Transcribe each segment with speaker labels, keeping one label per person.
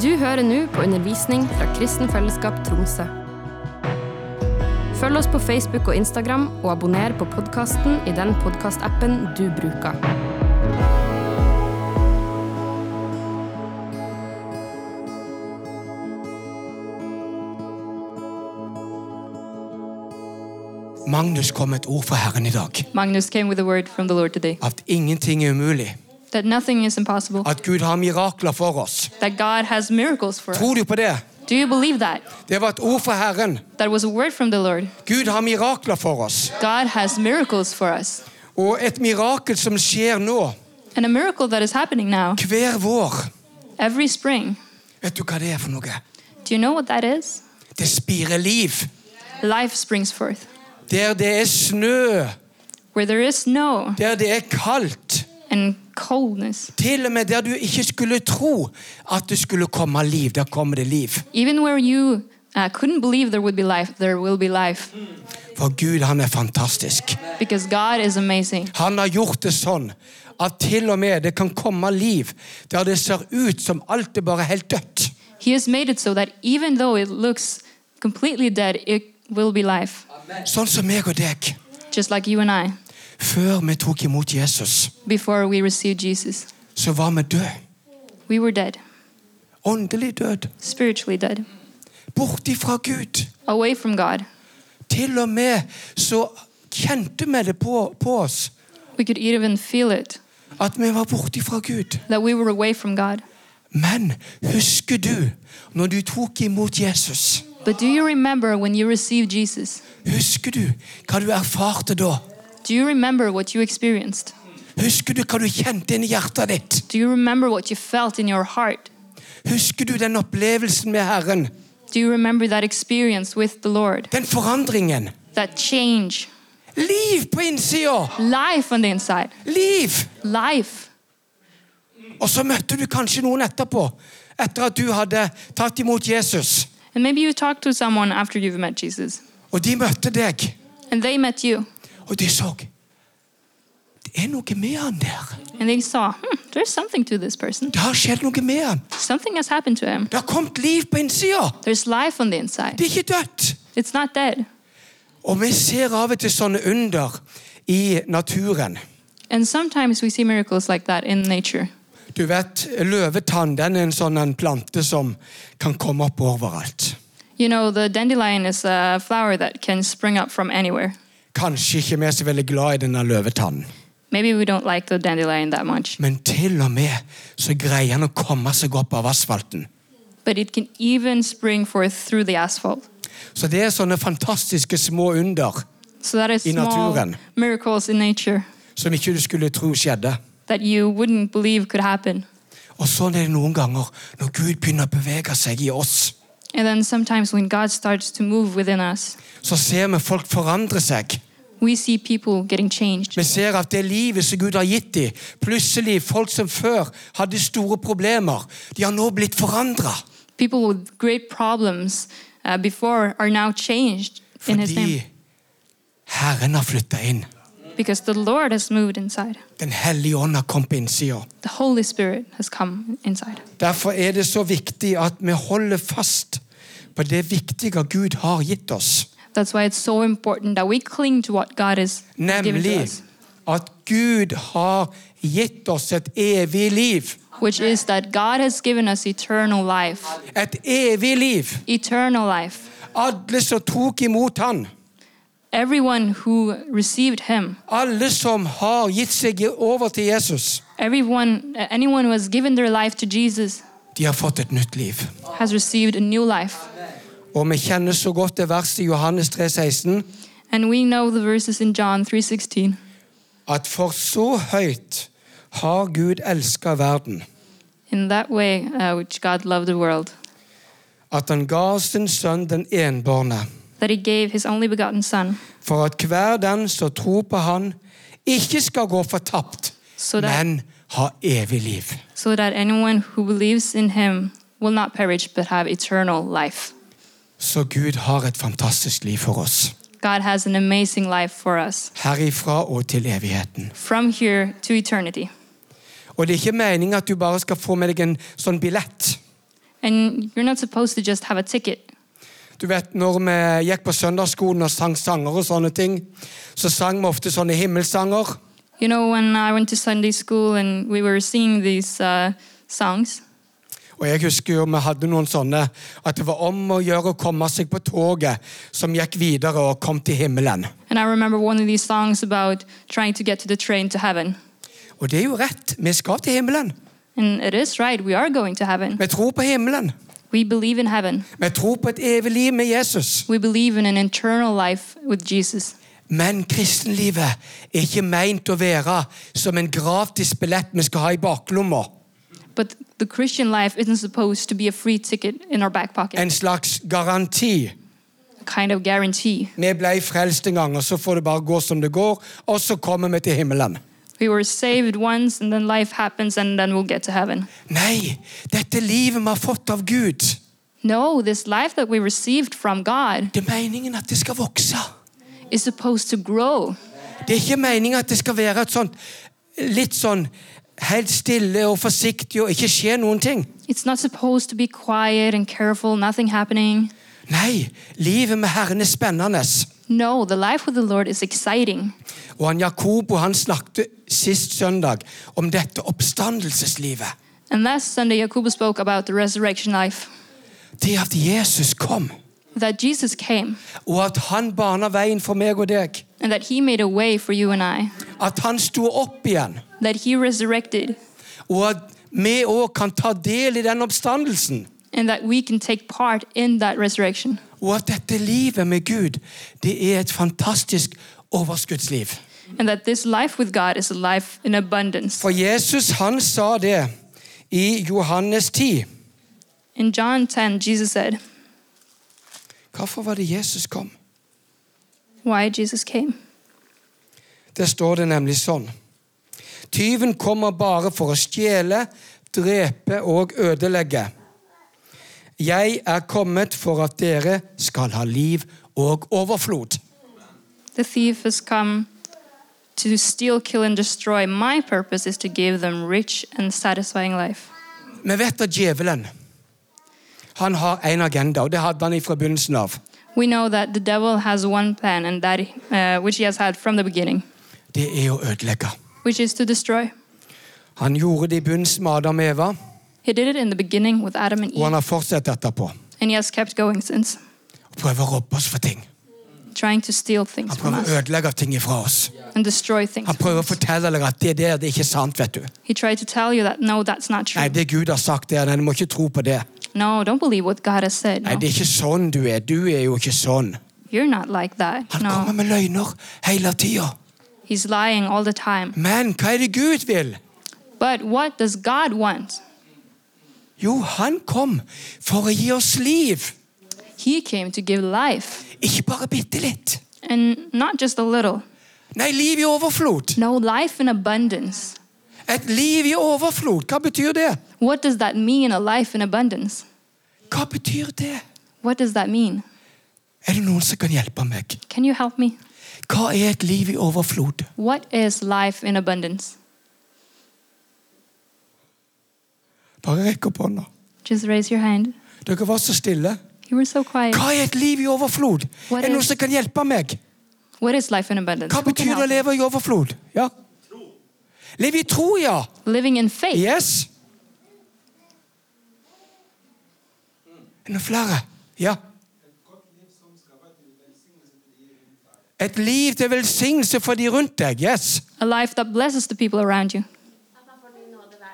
Speaker 1: Du hører nå på undervisning fra Kristen Fellesskap Tromsø. Følg oss på Facebook og Instagram, og abonner på podkasten i den podkastappen du bruker.
Speaker 2: Magnus kom med et ord fra Herren i dag.
Speaker 3: Magnus came with a word from the Lord today
Speaker 2: At ingenting er umulig.
Speaker 3: that nothing is impossible,
Speaker 2: At Gud har mirakler for oss.
Speaker 3: that God has miracles for us.
Speaker 2: Tror du på det?
Speaker 3: Do you believe that?
Speaker 2: Det var et ord fra Herren.
Speaker 3: That was a word from the Lord.
Speaker 2: Gud har mirakler for oss.
Speaker 3: God has miracles for us.
Speaker 2: Og et mirakel som skjer nå,
Speaker 3: And a miracle that is happening now
Speaker 2: hver vår
Speaker 3: every spring.
Speaker 2: Vet du hva det er for noe?
Speaker 3: Do you know what that is?
Speaker 2: Det spirer liv.
Speaker 3: Life springs forth.
Speaker 2: Der det er snø,
Speaker 3: Where there is snow
Speaker 2: der det er kaldt.
Speaker 3: and coldness,
Speaker 2: Til og med der du ikke skulle tro at det skulle komme liv, der kommer det liv.
Speaker 3: even where you uh, couldn't believe there would be life, there will be life.
Speaker 2: For Gud, han er fantastisk.
Speaker 3: Because God is amazing.
Speaker 2: Han har gjort det sånn at til og med det kan komme liv der det ser ut som alt er bare helt dødt.
Speaker 3: He has made it so that even though it looks completely dead, it will be life,
Speaker 2: Sånn som meg og deg.
Speaker 3: just like you and I.
Speaker 2: Før vi tok imot Jesus,
Speaker 3: before we received Jesus.
Speaker 2: så var vi døde.
Speaker 3: We were dead,
Speaker 2: Åndelig død.
Speaker 3: spiritually dead,
Speaker 2: Bort ifra Gud.
Speaker 3: away from God.
Speaker 2: Til og med så kjente vi det på, på oss
Speaker 3: We could even feel it
Speaker 2: at vi var borte ifra Gud.
Speaker 3: that we were away from God.
Speaker 2: Men husker du når du tok imot Jesus?
Speaker 3: But do you remember when you received Jesus?
Speaker 2: Husker du hva du erfarte da?
Speaker 3: Do you remember what you experienced?
Speaker 2: Husker du hva du kjente inni hjertet ditt?
Speaker 3: Do you remember what you felt in your heart?
Speaker 2: Husker du den opplevelsen med Herren?
Speaker 3: Do you remember that experience with the Lord?
Speaker 2: Den forandringen?
Speaker 3: That change?
Speaker 2: Liv på innsida!
Speaker 3: Life on the inside.
Speaker 2: Liv!
Speaker 3: Life.
Speaker 2: Og så møtte du kanskje noen etterpå, etter at du hadde tatt imot Jesus.
Speaker 3: And maybe you talked to someone after you've met Jesus
Speaker 2: Og de møtte deg,
Speaker 3: and they met you
Speaker 2: og de så Det er noe med han der.
Speaker 3: and they saw, hmm, there's something to this person.
Speaker 2: Det har skjedd noe med han.
Speaker 3: Something has happened to him.
Speaker 2: Det har kommet liv på innsida.
Speaker 3: There's life on the inside.
Speaker 2: Det er ikke dødt.
Speaker 3: It's not dead.
Speaker 2: Og vi ser av og til sånne under i naturen.
Speaker 3: And sometimes we see miracles like that in nature.
Speaker 2: Du vet, løvetann den er en sånn en plante som kan komme opp overalt.
Speaker 3: You know, the dandelion is a flower that can spring up from anywhere.
Speaker 2: Kanskje ikke vi er så veldig glad i denne løvetannen,
Speaker 3: Maybe we don't like the dandelion that much,
Speaker 2: men til og med så greier han å komme seg opp av asfalten.
Speaker 3: but it can even spring forth through the asphalt.
Speaker 2: Så det er sånne fantastiske små under
Speaker 3: So that is
Speaker 2: I
Speaker 3: small
Speaker 2: naturen.
Speaker 3: miracles in nature
Speaker 2: som ikke du skulle tro skjedde.
Speaker 3: that you wouldn't believe could happen.
Speaker 2: Og sånn er det noen ganger når Gud begynner å bevege seg i oss.
Speaker 3: And then sometimes when God starts to move within us,
Speaker 2: Så ser vi folk forandre seg.
Speaker 3: we see people getting changed.
Speaker 2: Vi ser at det livet som Gud har gitt dem, plutselig folk som før hadde store problemer, de har nå blitt forandra.
Speaker 3: People with great problems uh, before are now changed in His
Speaker 2: Fordi
Speaker 3: name
Speaker 2: Herren har flytta inn.
Speaker 3: because the Lord has moved inside.
Speaker 2: Den hellige ånd har kommet på innsida.
Speaker 3: The Holy Spirit has come inside.
Speaker 2: Derfor er det så viktig at vi holder fast på det viktige Gud har gitt oss,
Speaker 3: That's why it's so important that we cling to what God has given to
Speaker 2: nemlig
Speaker 3: us,
Speaker 2: at Gud har gitt oss et evig liv.
Speaker 3: which is that God has given us eternal life.
Speaker 2: Et evig liv.
Speaker 3: Eternal life.
Speaker 2: Alle som tok imot Han,
Speaker 3: Everyone who received Him,
Speaker 2: alle som har gitt seg over til Jesus,
Speaker 3: everyone, anyone who has given their life to Jesus,
Speaker 2: De har fått et nytt liv.
Speaker 3: has received a new life.
Speaker 2: Og vi kjenner så godt det verset i Johannes 3,16
Speaker 3: And we know the verses in John 3:16
Speaker 2: at for så høyt har Gud elska verden,
Speaker 3: in that way uh, which God loved the world
Speaker 2: at han ga sin sønn den enbårne,
Speaker 3: that He gave His only begotten Son
Speaker 2: for at hver den som tror på han, ikke skal gå fortapt,
Speaker 3: Så det-
Speaker 2: men ha evig liv.
Speaker 3: so that anyone who believes in Him will not perish but have eternal life.
Speaker 2: Så Gud har et fantastisk liv for oss,
Speaker 3: God has an amazing life for us
Speaker 2: herifra og til evigheten.
Speaker 3: from here to eternity.
Speaker 2: Og det er ikke meninga at du bare skal få med deg en sånn billett.
Speaker 3: And you're not supposed to just have a ticket.
Speaker 2: Du vet, når vi gikk på søndagsskolen og sang sanger og sånne ting, så sang vi ofte sånne himmelsanger.
Speaker 3: You know, when I went to Sunday school and we were singing these uh, songs,
Speaker 2: Og jeg husker jo vi hadde noen sånne at det var om å gjøre å komme seg på toget som gikk videre og kom til himmelen.
Speaker 3: and I remember one of these songs about trying to get to the train to heaven.
Speaker 2: Og det er jo rett. Vi skal til himmelen.
Speaker 3: And it is right, we are going to heaven.
Speaker 2: Vi tror på himmelen.
Speaker 3: We believe in heaven.
Speaker 2: Vi tror på et evig liv med Jesus.
Speaker 3: We believe in an eternal life with Jesus.
Speaker 2: Men kristenlivet er ikke meint å være som en gratis billett vi skal ha i baklomma.
Speaker 3: But the Christian life isn't supposed to be a free ticket in our back pocket,
Speaker 2: En slags garanti.
Speaker 3: a kind of guarantee.
Speaker 2: Vi ble frelst en gang, og så får det bare gå som det går, og så kommer vi til himmelen.
Speaker 3: We were saved once, and then life happens, and then we'll get to heaven.
Speaker 2: Nei, dette livet vi har fått av Gud,
Speaker 3: No, this life that we received from God
Speaker 2: det er meningen at det skal vokse.
Speaker 3: is supposed to grow.
Speaker 2: Det er ikke meningen at det skal være et sånt litt sånn helt stille og forsiktig og ikke skje noen ting.
Speaker 3: It's not supposed to be quiet and careful, nothing happening.
Speaker 2: Nei, livet med Herren er spennende.
Speaker 3: No, the life with the Lord is exciting.
Speaker 2: Og han Jakobo han snakket sist søndag om dette oppstandelseslivet.
Speaker 3: And last Sunday, Jacob spoke about the resurrection life,
Speaker 2: Det at Jesus kom,
Speaker 3: that Jesus came,
Speaker 2: og at han bana veien for meg og deg.
Speaker 3: and that he made a way for you and I,
Speaker 2: At han sto opp igjen,
Speaker 3: that he resurrected,
Speaker 2: og at vi òg kan ta del i den oppstandelsen.
Speaker 3: and that we can take part in that resurrection.
Speaker 2: Og at dette livet med Gud, det er et fantastisk overskuddsliv.
Speaker 3: And that this life with God is a life in abundance.
Speaker 2: For Jesus han sa det i Johannes 10.
Speaker 3: In John 10, Jesus said,
Speaker 2: Hvorfor var det Jesus kom?
Speaker 3: Why Jesus came.
Speaker 2: Der står det nemlig sånn. Tyven kommer bare for å stjele, drepe og ødelegge. Jeg er kommet for at dere skal ha liv og overflod.
Speaker 3: The thief has come to steal, kill, and destroy. My purpose is to give them rich and satisfying life.
Speaker 2: Vi vet at djevelen han har en agenda, og det hadde han fra begynnelsen av.
Speaker 3: We know that the devil has one plan, and that uh, which he has had from the beginning,
Speaker 2: Det er å ødelegge.
Speaker 3: which is to destroy.
Speaker 2: Han gjorde det i begynnelsen med Adam og Eva,
Speaker 3: He did it in the beginning with Adam and
Speaker 2: og han
Speaker 3: Eve,
Speaker 2: har fortsatt etterpå.
Speaker 3: and he has kept going since,
Speaker 2: Og prøver å robbe oss for ting.
Speaker 3: trying to steal things
Speaker 2: Han
Speaker 3: from
Speaker 2: prøver å
Speaker 3: us
Speaker 2: ødelegge ting ifra oss.
Speaker 3: and destroy things.
Speaker 2: Han prøver å fortelle deg at det der det er ikke sant, vet du.
Speaker 3: He tried to tell you that no, that's not
Speaker 2: Nei,
Speaker 3: true.
Speaker 2: det Gud har sagt der, nei, du må ikke tro på det.
Speaker 3: No, don't believe what God has said.
Speaker 2: Nei,
Speaker 3: No,
Speaker 2: det er ikke sånn du er. Du er jo ikke sånn.
Speaker 3: you're not like that.
Speaker 2: Han kommer
Speaker 3: No,
Speaker 2: med løgner hele tida.
Speaker 3: he's lying all the time.
Speaker 2: Men hva er det Gud vil?
Speaker 3: But what does God want?
Speaker 2: Jo, han kom for å gi oss liv.
Speaker 3: He came to give life.
Speaker 2: Ikke bare bitte litt.
Speaker 3: And not just a little.
Speaker 2: Nei, liv i overflod.
Speaker 3: No, life in abundance.
Speaker 2: Et liv i overflod, hva betyr det?
Speaker 3: What does that mean, a life in abundance?
Speaker 2: Hva betyr det?
Speaker 3: What does that mean?
Speaker 2: Er det noen som kan hjelpe meg?
Speaker 3: Can you help me?
Speaker 2: Hva er et liv i overflod?
Speaker 3: What is life in abundance?
Speaker 2: Bare rekk opp hånda.
Speaker 3: Just raise your hand.
Speaker 2: Dere var så stille.
Speaker 3: You were so quiet.
Speaker 2: Hva er et liv i overflod?
Speaker 3: Hva
Speaker 2: Er det noen
Speaker 3: er-
Speaker 2: som kan hjelpe meg?
Speaker 3: What is life in abundance?
Speaker 2: Hva
Speaker 3: Who can
Speaker 2: betyr det å
Speaker 3: help?
Speaker 2: leve i overflod? Ja. Leve i tro, ja.
Speaker 3: Living in faith.
Speaker 2: Yes. Er det noen flere? Ja. Et liv til velsignelse for de rundt deg. Yes.
Speaker 3: A life that blesses the people around you.
Speaker 4: At han får ny nåde hver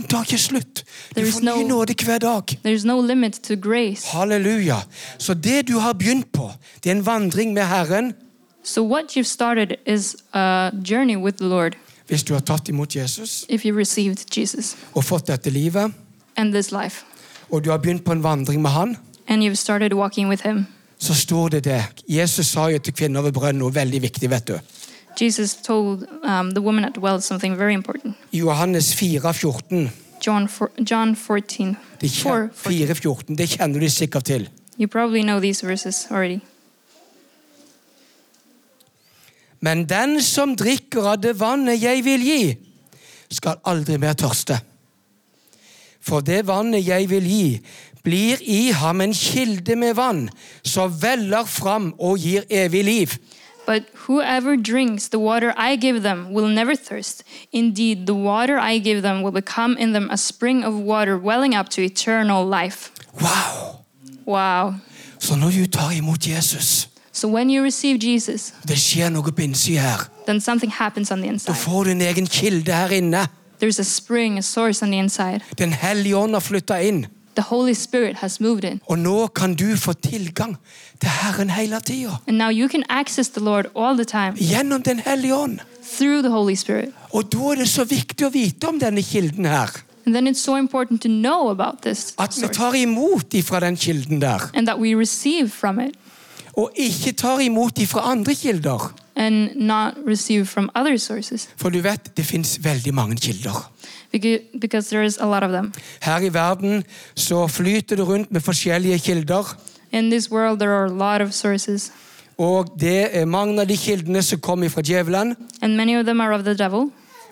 Speaker 4: dag. Nåden tar ikke slutt. Men
Speaker 2: Nåden
Speaker 4: at han
Speaker 2: tar ikke slutt. Du
Speaker 3: There is
Speaker 2: får ny
Speaker 3: no-
Speaker 2: nåde hver dag.
Speaker 3: There's no limit to grace.
Speaker 2: Halleluja. Så det du har begynt på, det er en vandring med Herren
Speaker 3: So, what you've started is a journey with the Lord
Speaker 2: hvis du har tatt imot Jesus
Speaker 3: if you received Jesus
Speaker 2: og fått dette livet,
Speaker 3: and this life.
Speaker 2: og du har begynt på en vandring med Han.
Speaker 3: And you've started walking with Him.
Speaker 2: så står det det. Jesus sa jo til kvinner ved brønnen noe veldig viktig, vet du.
Speaker 3: Jesus told um, the woman at the well something very important.
Speaker 2: I Johannes 4, 14.
Speaker 3: John, four, John 14.
Speaker 2: Det, kjen-
Speaker 3: 4, 14.
Speaker 2: 4, 14. det kjenner du sikkert til.
Speaker 3: You probably know these verses already.
Speaker 2: Men den som drikker av det vannet jeg vil gi, skal aldri mer tørste. For det vannet jeg vil gi, blir i ham en kilde med vann som veller fram og gir evig liv.
Speaker 3: But whoever drinks the water I give them will never thirst. Indeed, the water I give them will become in them a spring of water welling up to eternal life.
Speaker 2: Wow!
Speaker 3: Wow.
Speaker 2: Så når du tar imot Jesus,
Speaker 3: So when you receive Jesus,
Speaker 2: det skjer noe på innsiden her.
Speaker 3: then something happens on the
Speaker 2: Da
Speaker 3: inside.
Speaker 2: får du en egen kilde her inne.
Speaker 3: There's a spring, a source on the inside.
Speaker 2: Den hellige ånd har flytta inn.
Speaker 3: The Holy Spirit has moved in.
Speaker 2: Og nå kan du få tilgang til Herren hele tida.
Speaker 3: And now you can access the Lord all the time
Speaker 2: Gjennom Den hellige ånd.
Speaker 3: through the Holy Spirit.
Speaker 2: Og da er det så viktig å vite om denne kilden her.
Speaker 3: And then it's so important to know about this
Speaker 2: At vi
Speaker 3: source
Speaker 2: tar imot ifra den kilden der.
Speaker 3: and that we receive from it
Speaker 2: Og ikke tar imot ifra andre kilder.
Speaker 3: and not receive from other sources
Speaker 2: For du vet, det fins veldig mange kilder.
Speaker 3: because, because there is a lot of them.
Speaker 2: Her i verden så flyter det rundt med forskjellige kilder.
Speaker 3: In this world, there are a lot of sources,
Speaker 2: Og det er mange av de kildene som kommer fra djevelen.
Speaker 3: and many of them are of the devil.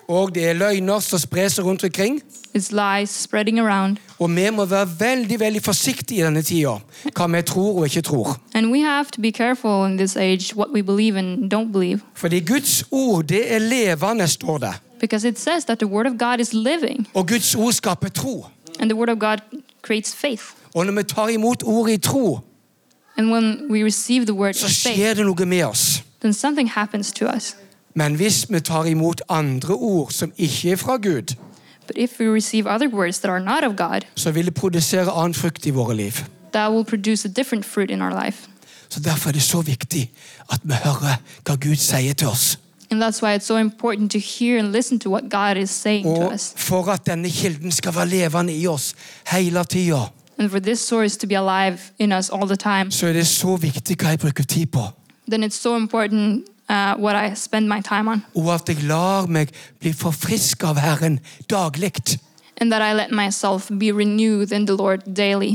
Speaker 2: Og det er løgner som sprer seg rundt omkring.
Speaker 3: It's lies spreading around.
Speaker 2: Og vi må være veldig veldig forsiktige i denne tida. Hva vi tror og ikke tror.
Speaker 3: And we have to be careful in this age what we believe and don't believe
Speaker 2: Fordi Guds ord det er levende, står det.
Speaker 3: because it says that the Word of God is living
Speaker 2: Og Guds ord skaper tro.
Speaker 3: and the Word of God creates faith.
Speaker 2: Og når vi tar imot ordet i tro,
Speaker 3: And when we receive the Word
Speaker 2: så
Speaker 3: in faith,
Speaker 2: skjer det noe med oss.
Speaker 3: then something happens to us.
Speaker 2: Men hvis vi tar imot andre ord som ikke er fra Gud,
Speaker 3: But if we receive other words that are not of God,
Speaker 2: så vil det produsere annen frukt i våre liv.
Speaker 3: that will produce a different fruit in our life.
Speaker 2: Så Derfor er det så viktig at vi hører hva Gud sier til oss.
Speaker 3: And that's why it's so important to hear and listen to what God is saying to
Speaker 2: Og
Speaker 3: us.
Speaker 2: for at denne kilden skal være levende i oss hele tida,
Speaker 3: And for this source to be alive in us all the time,
Speaker 2: så er det så viktig hva jeg bruker tid på.
Speaker 3: then it's so important uh, what I spend my time on.
Speaker 2: Og at jeg lar meg bli forfriska av Herren daglig.
Speaker 3: And that I let myself be renewed in the Lord daily.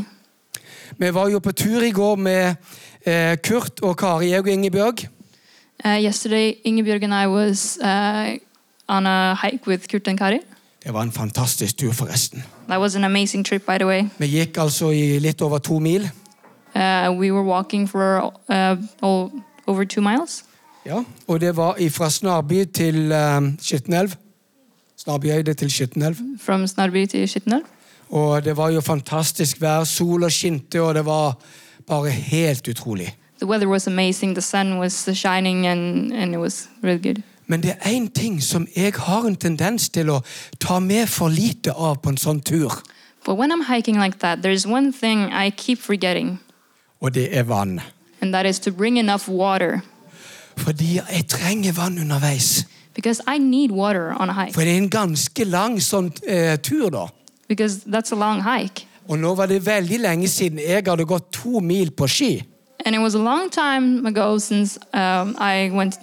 Speaker 2: Vi var jo på tur i går med eh, Kurt og Kari jeg og Ingebjørg.
Speaker 3: Uh, yesterday, Ingebjörg and I was uh, on a hike with Kurt and Kari.
Speaker 2: Det var en fantastisk tur, forresten.
Speaker 3: That was an amazing trip, by the way.
Speaker 2: Vi gikk altså i litt over to mil.
Speaker 3: Uh, we were walking for uh, all, over two miles.
Speaker 2: Ja. Og det var fra Snarby til eh, Skittenelv. Snarbyøyde til Skittenelv.
Speaker 3: from Snarby to Skittenelv.
Speaker 2: Og det var jo fantastisk vær. Sola skinte, og det var bare helt utrolig.
Speaker 3: The weather was amazing. The sun was shining, and and it was really good.
Speaker 2: Men det er én ting som jeg har en tendens til å ta med for lite av på en sånn tur,
Speaker 3: But when I'm hiking like that, there's one thing I keep forgetting,
Speaker 2: og det er vann.
Speaker 3: and that is to bring enough water
Speaker 2: Fordi jeg trenger vann underveis.
Speaker 3: because I need water on a hike
Speaker 2: For det er en ganske lang sånn eh, tur, da.
Speaker 3: because that's a long hike.
Speaker 2: Og nå var det veldig lenge siden jeg hadde gått to mil på ski.
Speaker 3: And it was a long time ago since um, I went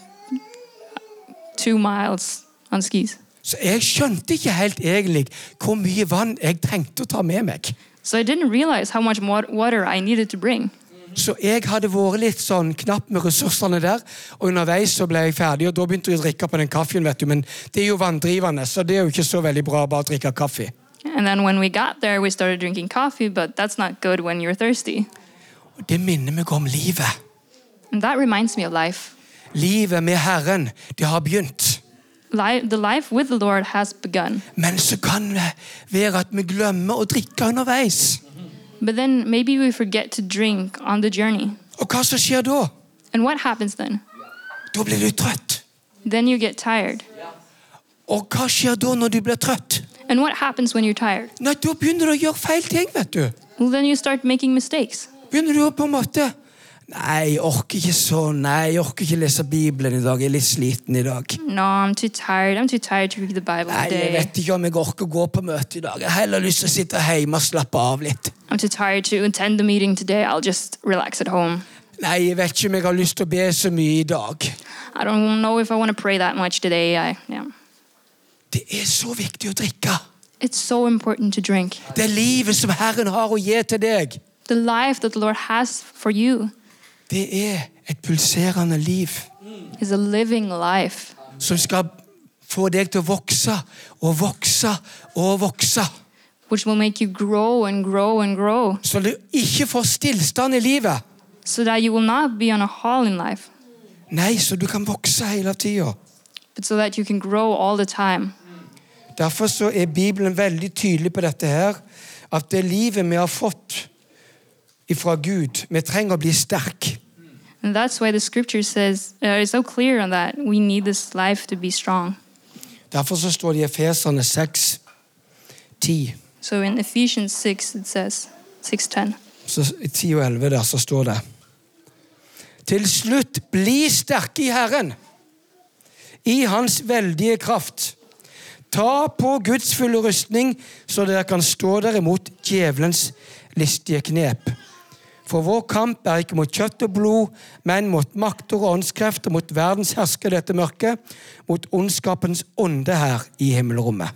Speaker 3: two miles on skis.
Speaker 2: Så jeg skjønte ikke helt egentlig hvor mye vann jeg trengte å ta med meg.
Speaker 3: So I didn't realize how much wa- water I needed to bring.
Speaker 2: Så jeg hadde vært litt sånn knapp med ressursene der, og underveis så ble jeg ferdig, og da begynte jeg å drikke på den kaffen, vet du. Men det er jo vanndrivende, så det er jo ikke så veldig bra bare å drikke kaffe.
Speaker 3: And then when we got there, we started drinking coffee, but that's not good when you're thirsty.
Speaker 2: Og det minner meg om livet.
Speaker 3: And that reminds me of life.
Speaker 2: Livet med Herren, det har begynt.
Speaker 3: Li- the life with the Lord has begun.
Speaker 2: Men så kan det være at vi glemmer å drikke underveis.
Speaker 3: But then maybe we forget to drink on the journey.
Speaker 2: Og hva som skjer da?
Speaker 3: And what happens then?
Speaker 2: Da blir du trøtt.
Speaker 3: Then you get tired.
Speaker 2: Og hva skjer da når du blir trøtt?
Speaker 3: And what happens when you're tired?
Speaker 2: Nei, Da begynner du å gjøre feil ting, vet du.
Speaker 3: Well, then you start making mistakes.
Speaker 2: Begynner du å på en måte Nei, jeg orker ikke sånn. Nei, jeg orker ikke lese Bibelen i dag. Jeg er litt sliten i dag.
Speaker 3: No, I'm too tired. I'm too tired to read the Bible
Speaker 2: Nei, jeg
Speaker 3: today.
Speaker 2: vet ikke om jeg orker å gå på møte i dag. Jeg har heller lyst til å sitte hjemme og slappe av litt.
Speaker 3: I'm too tired to attend the meeting today. I'll just relax at home.
Speaker 2: Nei, jeg vet ikke om jeg har lyst til å be så mye i dag.
Speaker 3: I don't know if I want to pray that much today. I yeah.
Speaker 2: Det er så viktig å drikke.
Speaker 3: It's so important to drink.
Speaker 2: Det er livet som Herren har å gi til deg.
Speaker 3: The life that the Lord has for you
Speaker 2: Det er et pulserende liv
Speaker 3: is a living life.
Speaker 2: som skal få deg til å vokse og vokse og vokse.
Speaker 3: which will make you grow and grow and grow
Speaker 2: så du ikke får stillstand i livet.
Speaker 3: so that you will not be on a haul in life,
Speaker 2: Nei, så du kan vokse hele tida.
Speaker 3: but so that you can grow all the time.
Speaker 2: Derfor så er Bibelen veldig tydelig på dette her, at det livet vi har fått fra Gud Vi trenger å bli sterk.
Speaker 3: And that's why the scripture says, uh, it's so clear on that. We need this life to be strong.
Speaker 2: Derfor så står det i Efeserne 6, 10,
Speaker 3: So in Ephesians 6, it says, 6.10,
Speaker 2: så, 10 og 11 der, så står det Til slutt, bli sterke i Herren, i Hans veldige kraft. Ta på Guds fulle rustning, så dere kan stå dere mot djevelens listige knep. For vår kamp er ikke mot kjøtt og blod, men mot makter og åndskrefter, mot verdens hersker i dette mørket, mot ondskapens ånde her i himmelrommet.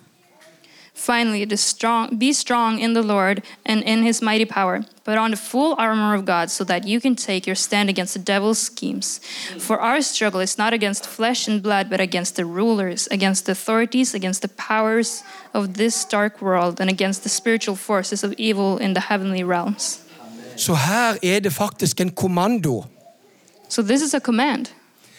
Speaker 3: Finally, it is strong, be strong in the Lord and in his mighty power, put on the full armor of God so that you can take your stand against the devil's schemes. For our struggle is not against flesh and blood, but against the rulers, against the authorities, against the powers of this dark world, and against the spiritual forces of evil in the heavenly realms.
Speaker 2: Så her er det faktisk en kommando.
Speaker 3: So, this is a command.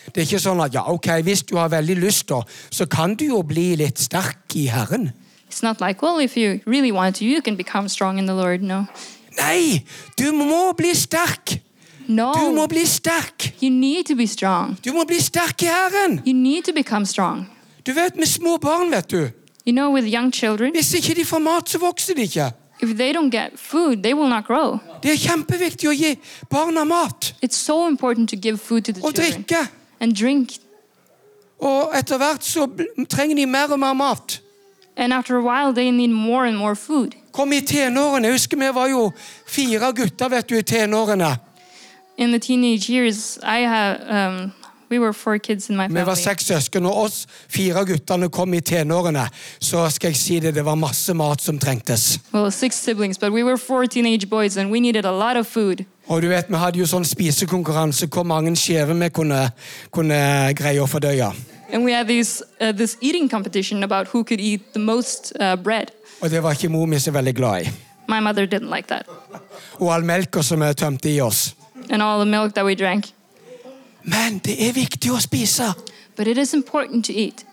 Speaker 2: Det er ikke sånn at ja, ok, hvis du har veldig lyst, da, så kan du jo bli litt sterk i Herren.
Speaker 3: It's not like, well, if you really want to, you can become strong in the Lord. No.
Speaker 2: Nei! Du må bli sterk! Du må
Speaker 3: No.
Speaker 2: bli sterk!
Speaker 3: You need to be strong.
Speaker 2: Du må bli sterk i Herren!
Speaker 3: You need to become strong.
Speaker 2: Du vet, med små barn, vet du.
Speaker 3: You know, with young children,
Speaker 2: Hvis ikke de får mat, så vokser de ikke.
Speaker 3: if they don't get food, they will not grow.
Speaker 2: Det er kjempeviktig å gi barna mat
Speaker 3: It's so important to give food to the
Speaker 2: og
Speaker 3: children
Speaker 2: drikke.
Speaker 3: and drink.
Speaker 2: Og etter hvert så bl- trenger de mer og mer mat.
Speaker 3: And after a while, they need more and more food.
Speaker 2: Kom i tenårene. Jeg husker vi var jo fire gutter vet du, i tenårene.
Speaker 3: In the teenage years, I have um, we were four kids in my
Speaker 2: Vi var
Speaker 3: family.
Speaker 2: seks søsken, og oss fire guttene kom i tenårene. Så skal jeg si det, det var masse mat som trengtes.
Speaker 3: Well, six siblings, but we were four teenage boys, and we needed a lot of food.
Speaker 2: Og du vet, vi hadde jo sånn spisekonkurranse hvor mange skjever vi kunne, kunne greie å fordøye.
Speaker 3: And we had these uh, this eating competition about who could eat the most uh, bread.
Speaker 2: Og det var ikke mor mi så veldig glad i.
Speaker 3: My mother didn't like that,
Speaker 2: Og all melka som vi tømte i oss.
Speaker 3: and all the milk that we drank.
Speaker 2: Men det er viktig å spise.
Speaker 3: But it is important to eat.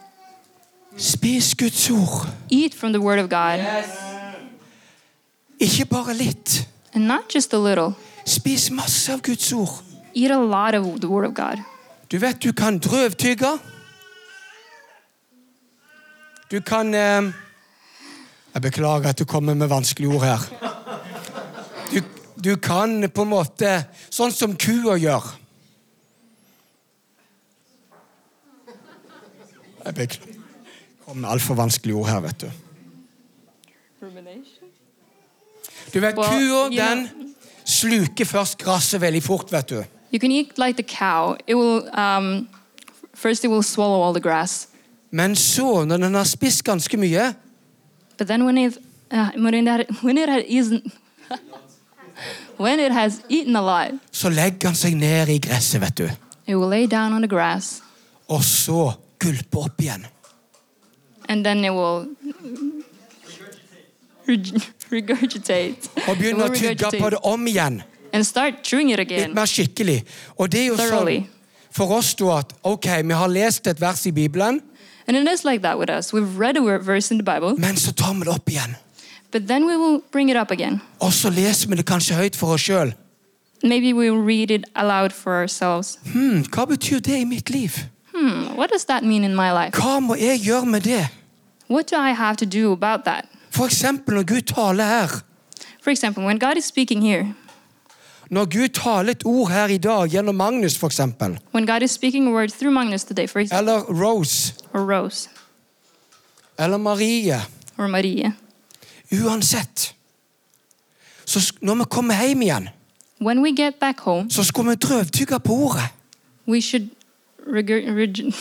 Speaker 2: Spis Guds ord.
Speaker 3: Eat from the Word of God,
Speaker 2: Ikke bare litt.
Speaker 3: and not just a little.
Speaker 2: Spis masse av Guds ord.
Speaker 3: Eat a lot of the Word of God.
Speaker 2: Du vet du kan drøvtygge. Du kan eh, Jeg beklager at du kommer med vanskelige ord her. Du, du kan på en måte Sånn som kua gjør. Jeg beklager. Kom med altfor vanskelige ord her, vet du.
Speaker 3: Rumination?
Speaker 2: Du vet,
Speaker 3: Well,
Speaker 2: Kua
Speaker 3: you
Speaker 2: den sluker først gresset veldig fort, vet du.
Speaker 3: You can eat like the cow. It will um, first it will swallow all the grass,
Speaker 2: Men så, når den har spist ganske mye,
Speaker 3: but then when it uh, when it had, when it had eaten when it has eaten a lot,
Speaker 2: så legger han seg ned i gresset, vet du.
Speaker 3: it will lay down on the grass,
Speaker 2: og så gulpe opp igjen.
Speaker 3: and then it will reg- regurgitate
Speaker 2: Og
Speaker 3: It
Speaker 2: begynne
Speaker 3: will
Speaker 2: å tygge på
Speaker 3: regurgitate
Speaker 2: det om igjen.
Speaker 3: and start chewing it
Speaker 2: Litt
Speaker 3: again.
Speaker 2: mer skikkelig. Og det er jo
Speaker 3: Thoroughly.
Speaker 2: sånn for oss da at ok, vi har lest et vers i Bibelen,
Speaker 3: And it is like that with us. We've read a word- verse in the Bible,
Speaker 2: men så tar vi det opp igjen.
Speaker 3: but then we will bring it up again.
Speaker 2: Og så leser vi det kanskje høyt for oss sjøl.
Speaker 3: Maybe we'll read it aloud for ourselves.
Speaker 2: Hmm, hva betyr det i mitt liv?
Speaker 3: Hmm, what does that mean in my life?
Speaker 2: Hva må jeg gjøre med det?
Speaker 3: What do I have to do about that?
Speaker 2: For eksempel når Gud taler her.
Speaker 3: For example, when God is speaking here,
Speaker 2: Når Gud taler et ord her i dag gjennom Magnus, for eksempel.
Speaker 3: when God is speaking a word through Magnus today, for example,
Speaker 2: Eller Rose.
Speaker 3: or Rose,
Speaker 2: Eller Marie.
Speaker 3: or Maria,
Speaker 2: Uansett. Så sk- når vi kommer hjem igjen,
Speaker 3: when we get back home,
Speaker 2: så skal vi drøvtygge på ordet.
Speaker 3: we should regurg... Reg-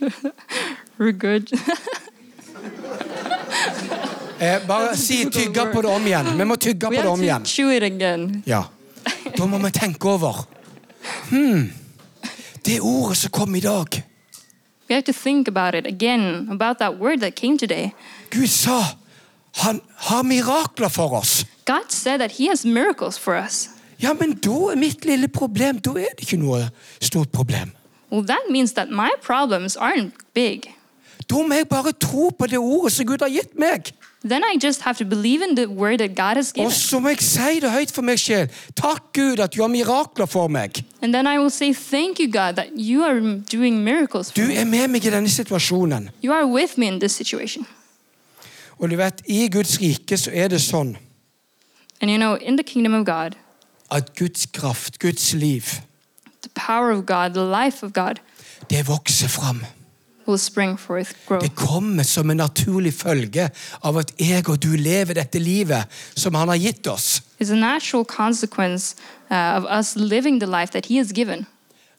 Speaker 3: regurg...
Speaker 2: Eh, bare si
Speaker 3: difficult
Speaker 2: 'tygge på
Speaker 3: word.
Speaker 2: det om igjen'. Vi må tygge
Speaker 3: we
Speaker 2: på det
Speaker 3: have
Speaker 2: om
Speaker 3: to
Speaker 2: igjen.
Speaker 3: chew it again.
Speaker 2: Ja. Da må vi tenke over. Hmm. Det ordet som kom i dag
Speaker 3: We have to think about it again, about that word that came today.
Speaker 2: Gud sa Han har mirakler for oss.
Speaker 3: God said that He has miracles for us.
Speaker 2: Ja, men da er mitt lille problem Da er det ikke noe stort problem.
Speaker 3: Well, that means that my problems aren't big.
Speaker 2: Da må jeg bare tro på det ordet som Gud har gitt meg.
Speaker 3: Then I just have to believe in the word that God has
Speaker 2: Og
Speaker 3: given.
Speaker 2: så må jeg si det høyt for meg sjøl. Takk, Gud, at du har mirakler for meg.
Speaker 3: And then I will say, Thank you, God, that you are doing miracles for
Speaker 2: Du
Speaker 3: me.
Speaker 2: er med meg i denne situasjonen.
Speaker 3: You are with me in this situation.
Speaker 2: Og du vet, i Guds rike så er det sånn
Speaker 3: And you know, in the kingdom of God,
Speaker 2: at Guds kraft, Guds liv,
Speaker 3: the power of God, the life of God
Speaker 2: det vokser fram.
Speaker 3: will spring forth, grow.
Speaker 2: Det kommer som en naturlig følge av at jeg og du lever dette livet som Han har gitt oss.
Speaker 3: It's a natural consequence uh, of us living the life that He has given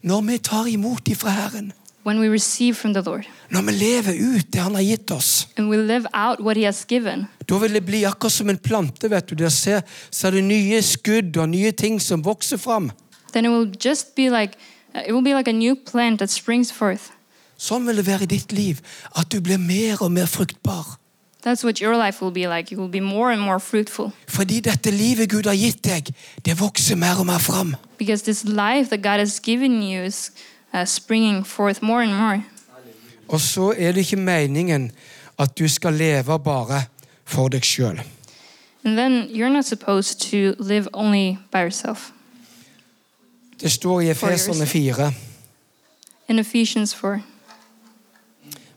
Speaker 2: Når vi tar imot ifra Herren,
Speaker 3: when we receive from the Lord
Speaker 2: når vi lever ut det Han har gitt oss,
Speaker 3: and we live out what He has given.
Speaker 2: da vil det bli akkurat som en plante. vet du. Der ser, ser du nye skudd og nye ting som vokser fram.
Speaker 3: Then it will just be like uh, it will be like a new plant that springs forth.
Speaker 2: Sånn vil det være i ditt liv, at du blir mer og mer fruktbar.
Speaker 3: That's what your life will be like. You will be more and more fruitful
Speaker 2: Fordi dette livet Gud har gitt deg, det vokser mer og mer fram.
Speaker 3: because this life that God has given you is uh, springing forth more and more.
Speaker 2: Og så er det ikke meningen at du skal leve bare for deg sjøl.
Speaker 3: And then you're not supposed to live only by yourself.
Speaker 2: Det står i
Speaker 3: For
Speaker 2: Efeserne 4.
Speaker 3: In Ephesians 4,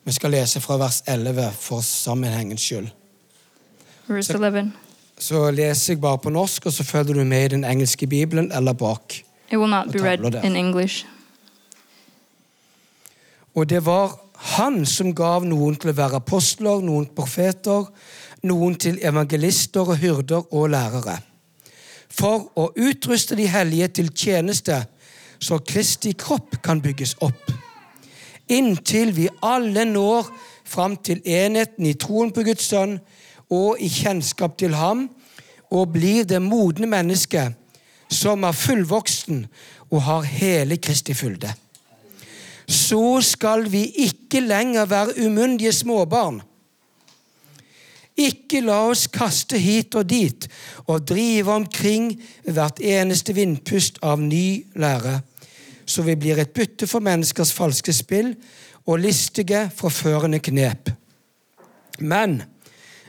Speaker 2: Vi skal lese fra vers 11 for sammenhengens skyld.
Speaker 3: verse 11,
Speaker 2: Så leser jeg bare på norsk, og så følger du med i den engelske bibelen eller bak.
Speaker 3: it will not be
Speaker 2: What
Speaker 3: read
Speaker 2: tablet there?
Speaker 3: in English.
Speaker 2: Og det var han som gav noen til å være apostler, noen profeter, noen til evangelister og hyrder og lærere. For å utruste de hellige til tjeneste, så Kristi kropp kan bygges opp. Inntil vi alle når fram til enheten i troen på Guds sønn og i kjennskap til ham, og blir det modne mennesket som er fullvoksen og har hele Kristi fylde så skal vi ikke lenger være umyndige småbarn. Ikke la oss kaste hit og dit og drive omkring ved hvert eneste vindpust av ny lære, så vi blir et bytte for menneskers falske spill og listige, forførende knep. Men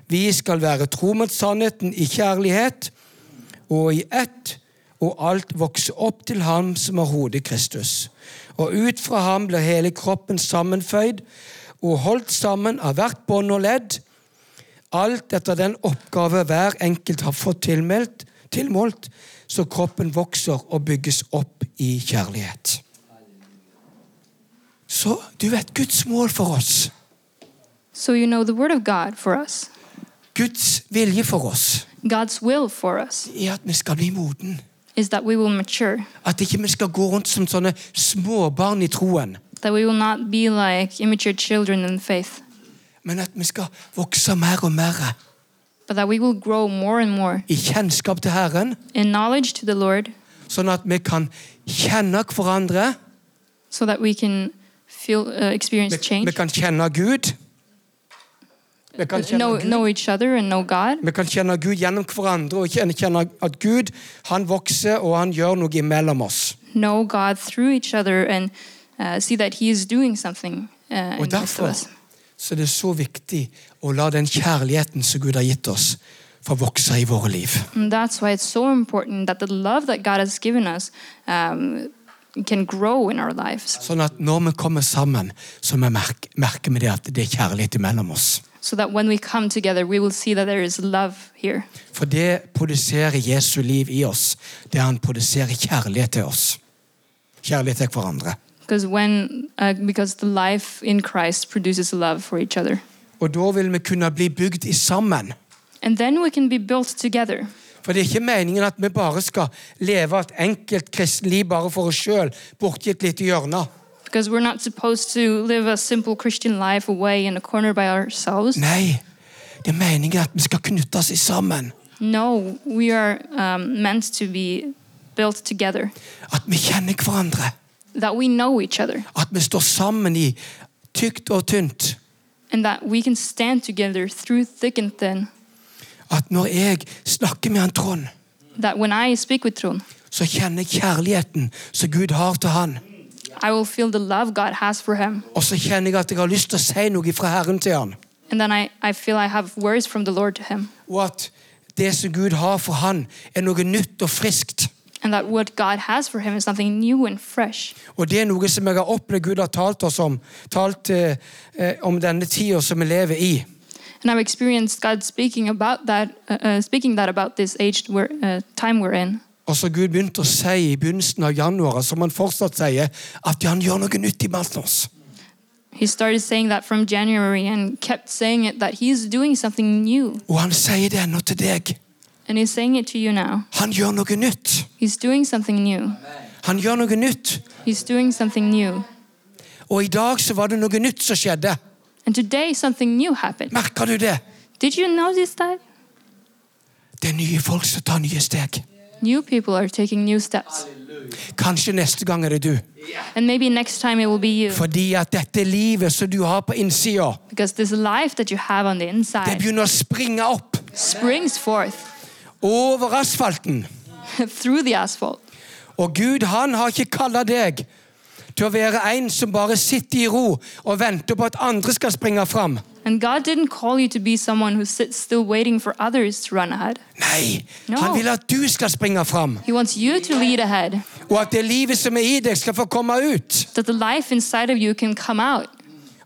Speaker 2: vi skal være tro mot sannheten i kjærlighet og i ett og alt vokser opp til ham som er hodet Kristus. Og ut fra ham blir hele kroppen sammenføyd og holdt sammen av hvert bånd og ledd, alt etter den oppgave hver enkelt har fått tilmeldt, tilmålt, så kroppen vokser og bygges opp i kjærlighet. Så du vet Guds mål for oss,
Speaker 3: So you know the word of God for us,
Speaker 2: Guds vilje for oss,
Speaker 3: God's will for us,
Speaker 2: er at vi skal bli moden.
Speaker 3: is that we will mature,
Speaker 2: At ikke vi skal gå rundt som sånne småbarn i troen,
Speaker 3: that we will not be like immature children in faith,
Speaker 2: men at vi skal vokse mer og mer
Speaker 3: but that we will grow more and more
Speaker 2: i kjennskap til Herren,
Speaker 3: in knowledge to the Lord
Speaker 2: sånn at vi kan kjenne hverandre,
Speaker 3: so that we can feel uh, experience
Speaker 2: vi,
Speaker 3: change.
Speaker 2: vi kan kjenne Gud. Vi kan kjenne,
Speaker 3: know,
Speaker 2: Gud.
Speaker 3: know each other and know God.
Speaker 2: vi kan kjenne Gud gjennom hverandre og kjenne, kjenne at Gud han vokser og han gjør noe imellom oss.
Speaker 3: know God through each other and uh, see that He is doing something uh, in
Speaker 2: Og
Speaker 3: the midst of
Speaker 2: derfor
Speaker 3: us.
Speaker 2: så er det så viktig å la den kjærligheten som Gud har gitt oss, få vokse i våre liv.
Speaker 3: And that's why it's so important that the love that God has given us um, can grow in our lives,
Speaker 2: Sånn at når vi kommer sammen, så vi merker, merker vi det at det er kjærlighet mellom oss.
Speaker 3: so that when we come together, we will see that there is love here.
Speaker 2: For det produserer Jesu liv i oss, der han produserer kjærlighet til oss. Kjærlighet til hverandre.
Speaker 3: Because when, uh, because the life in Christ produces love for each other,
Speaker 2: Og da vil vi kunne bli bygd i sammen.
Speaker 3: and then we can be built together.
Speaker 2: For det er ikke meningen at vi bare skal leve et enkelt kristenliv bare for oss sjøl, borti et lite hjørne.
Speaker 3: Because we're not supposed to live a simple Christian life away in a corner by ourselves.
Speaker 2: Nei, det er meningen at vi skal knyttes i sammen.
Speaker 3: No, we are um, meant to be built together,
Speaker 2: At vi kjenner hverandre.
Speaker 3: that we know each other,
Speaker 2: At vi står sammen i tykt og tynt.
Speaker 3: and that we can stand together through thick and thin.
Speaker 2: at når jeg snakker med han Trond,
Speaker 3: that when I speak with Trun,
Speaker 2: så kjenner jeg kjærligheten som Gud har til han.
Speaker 3: I will feel the love God has for him.
Speaker 2: Og så kjenner jeg at jeg har lyst til å si noe fra Herren til han.
Speaker 3: And then I, I feel I have words from the Lord to him.
Speaker 2: Og at det som Gud har for han, er noe nytt og friskt.
Speaker 3: And that what God has for him is something new and fresh.
Speaker 2: Og det er noe som jeg har opplevd Gud har talt oss om, talt eh, eh, om denne tida som vi lever i.
Speaker 3: And I've experienced God speaking about that, uh, uh, speaking that about this age we're, uh, time we're in.
Speaker 2: Og så Gud begynte å si i begynnelsen av januar, som han fortsatt sier, at han gjør noe nytt iblant oss.
Speaker 3: He started saying that from January and kept saying it that he's doing something new.
Speaker 2: Og han sier det ennå til deg.
Speaker 3: And he's saying it to you now.
Speaker 2: Han gjør noe nytt.
Speaker 3: He's doing something new.
Speaker 2: Han gjør noe nytt.
Speaker 3: He's doing something new.
Speaker 2: Og i dag så var det noe nytt som skjedde.
Speaker 3: And today something new happened.
Speaker 2: Merker du det?
Speaker 3: Did you notice that?
Speaker 2: Det er nye folk som tar nye steg.
Speaker 3: New people are taking new steps.
Speaker 2: Kanskje neste gang er det du.
Speaker 3: And maybe next time it will be you.
Speaker 2: Fordi at dette livet som du har på innsida,
Speaker 3: Because this life that you have on the
Speaker 2: det
Speaker 3: inside
Speaker 2: begynner å springe opp
Speaker 3: springs forth
Speaker 2: over asfalten.
Speaker 3: through the asphalt.
Speaker 2: Og Gud, han har ikke kalla deg til å være en som bare sitter i ro og venter på at andre skal springe fram.
Speaker 3: And God didn't call you to be someone who sits still waiting for others to run ahead.
Speaker 2: Nei,
Speaker 3: No.
Speaker 2: han vil at du skal springe fram,
Speaker 3: He wants you to lead ahead,
Speaker 2: og at det livet som er i deg, skal få komme ut.
Speaker 3: that the life inside of you can come out,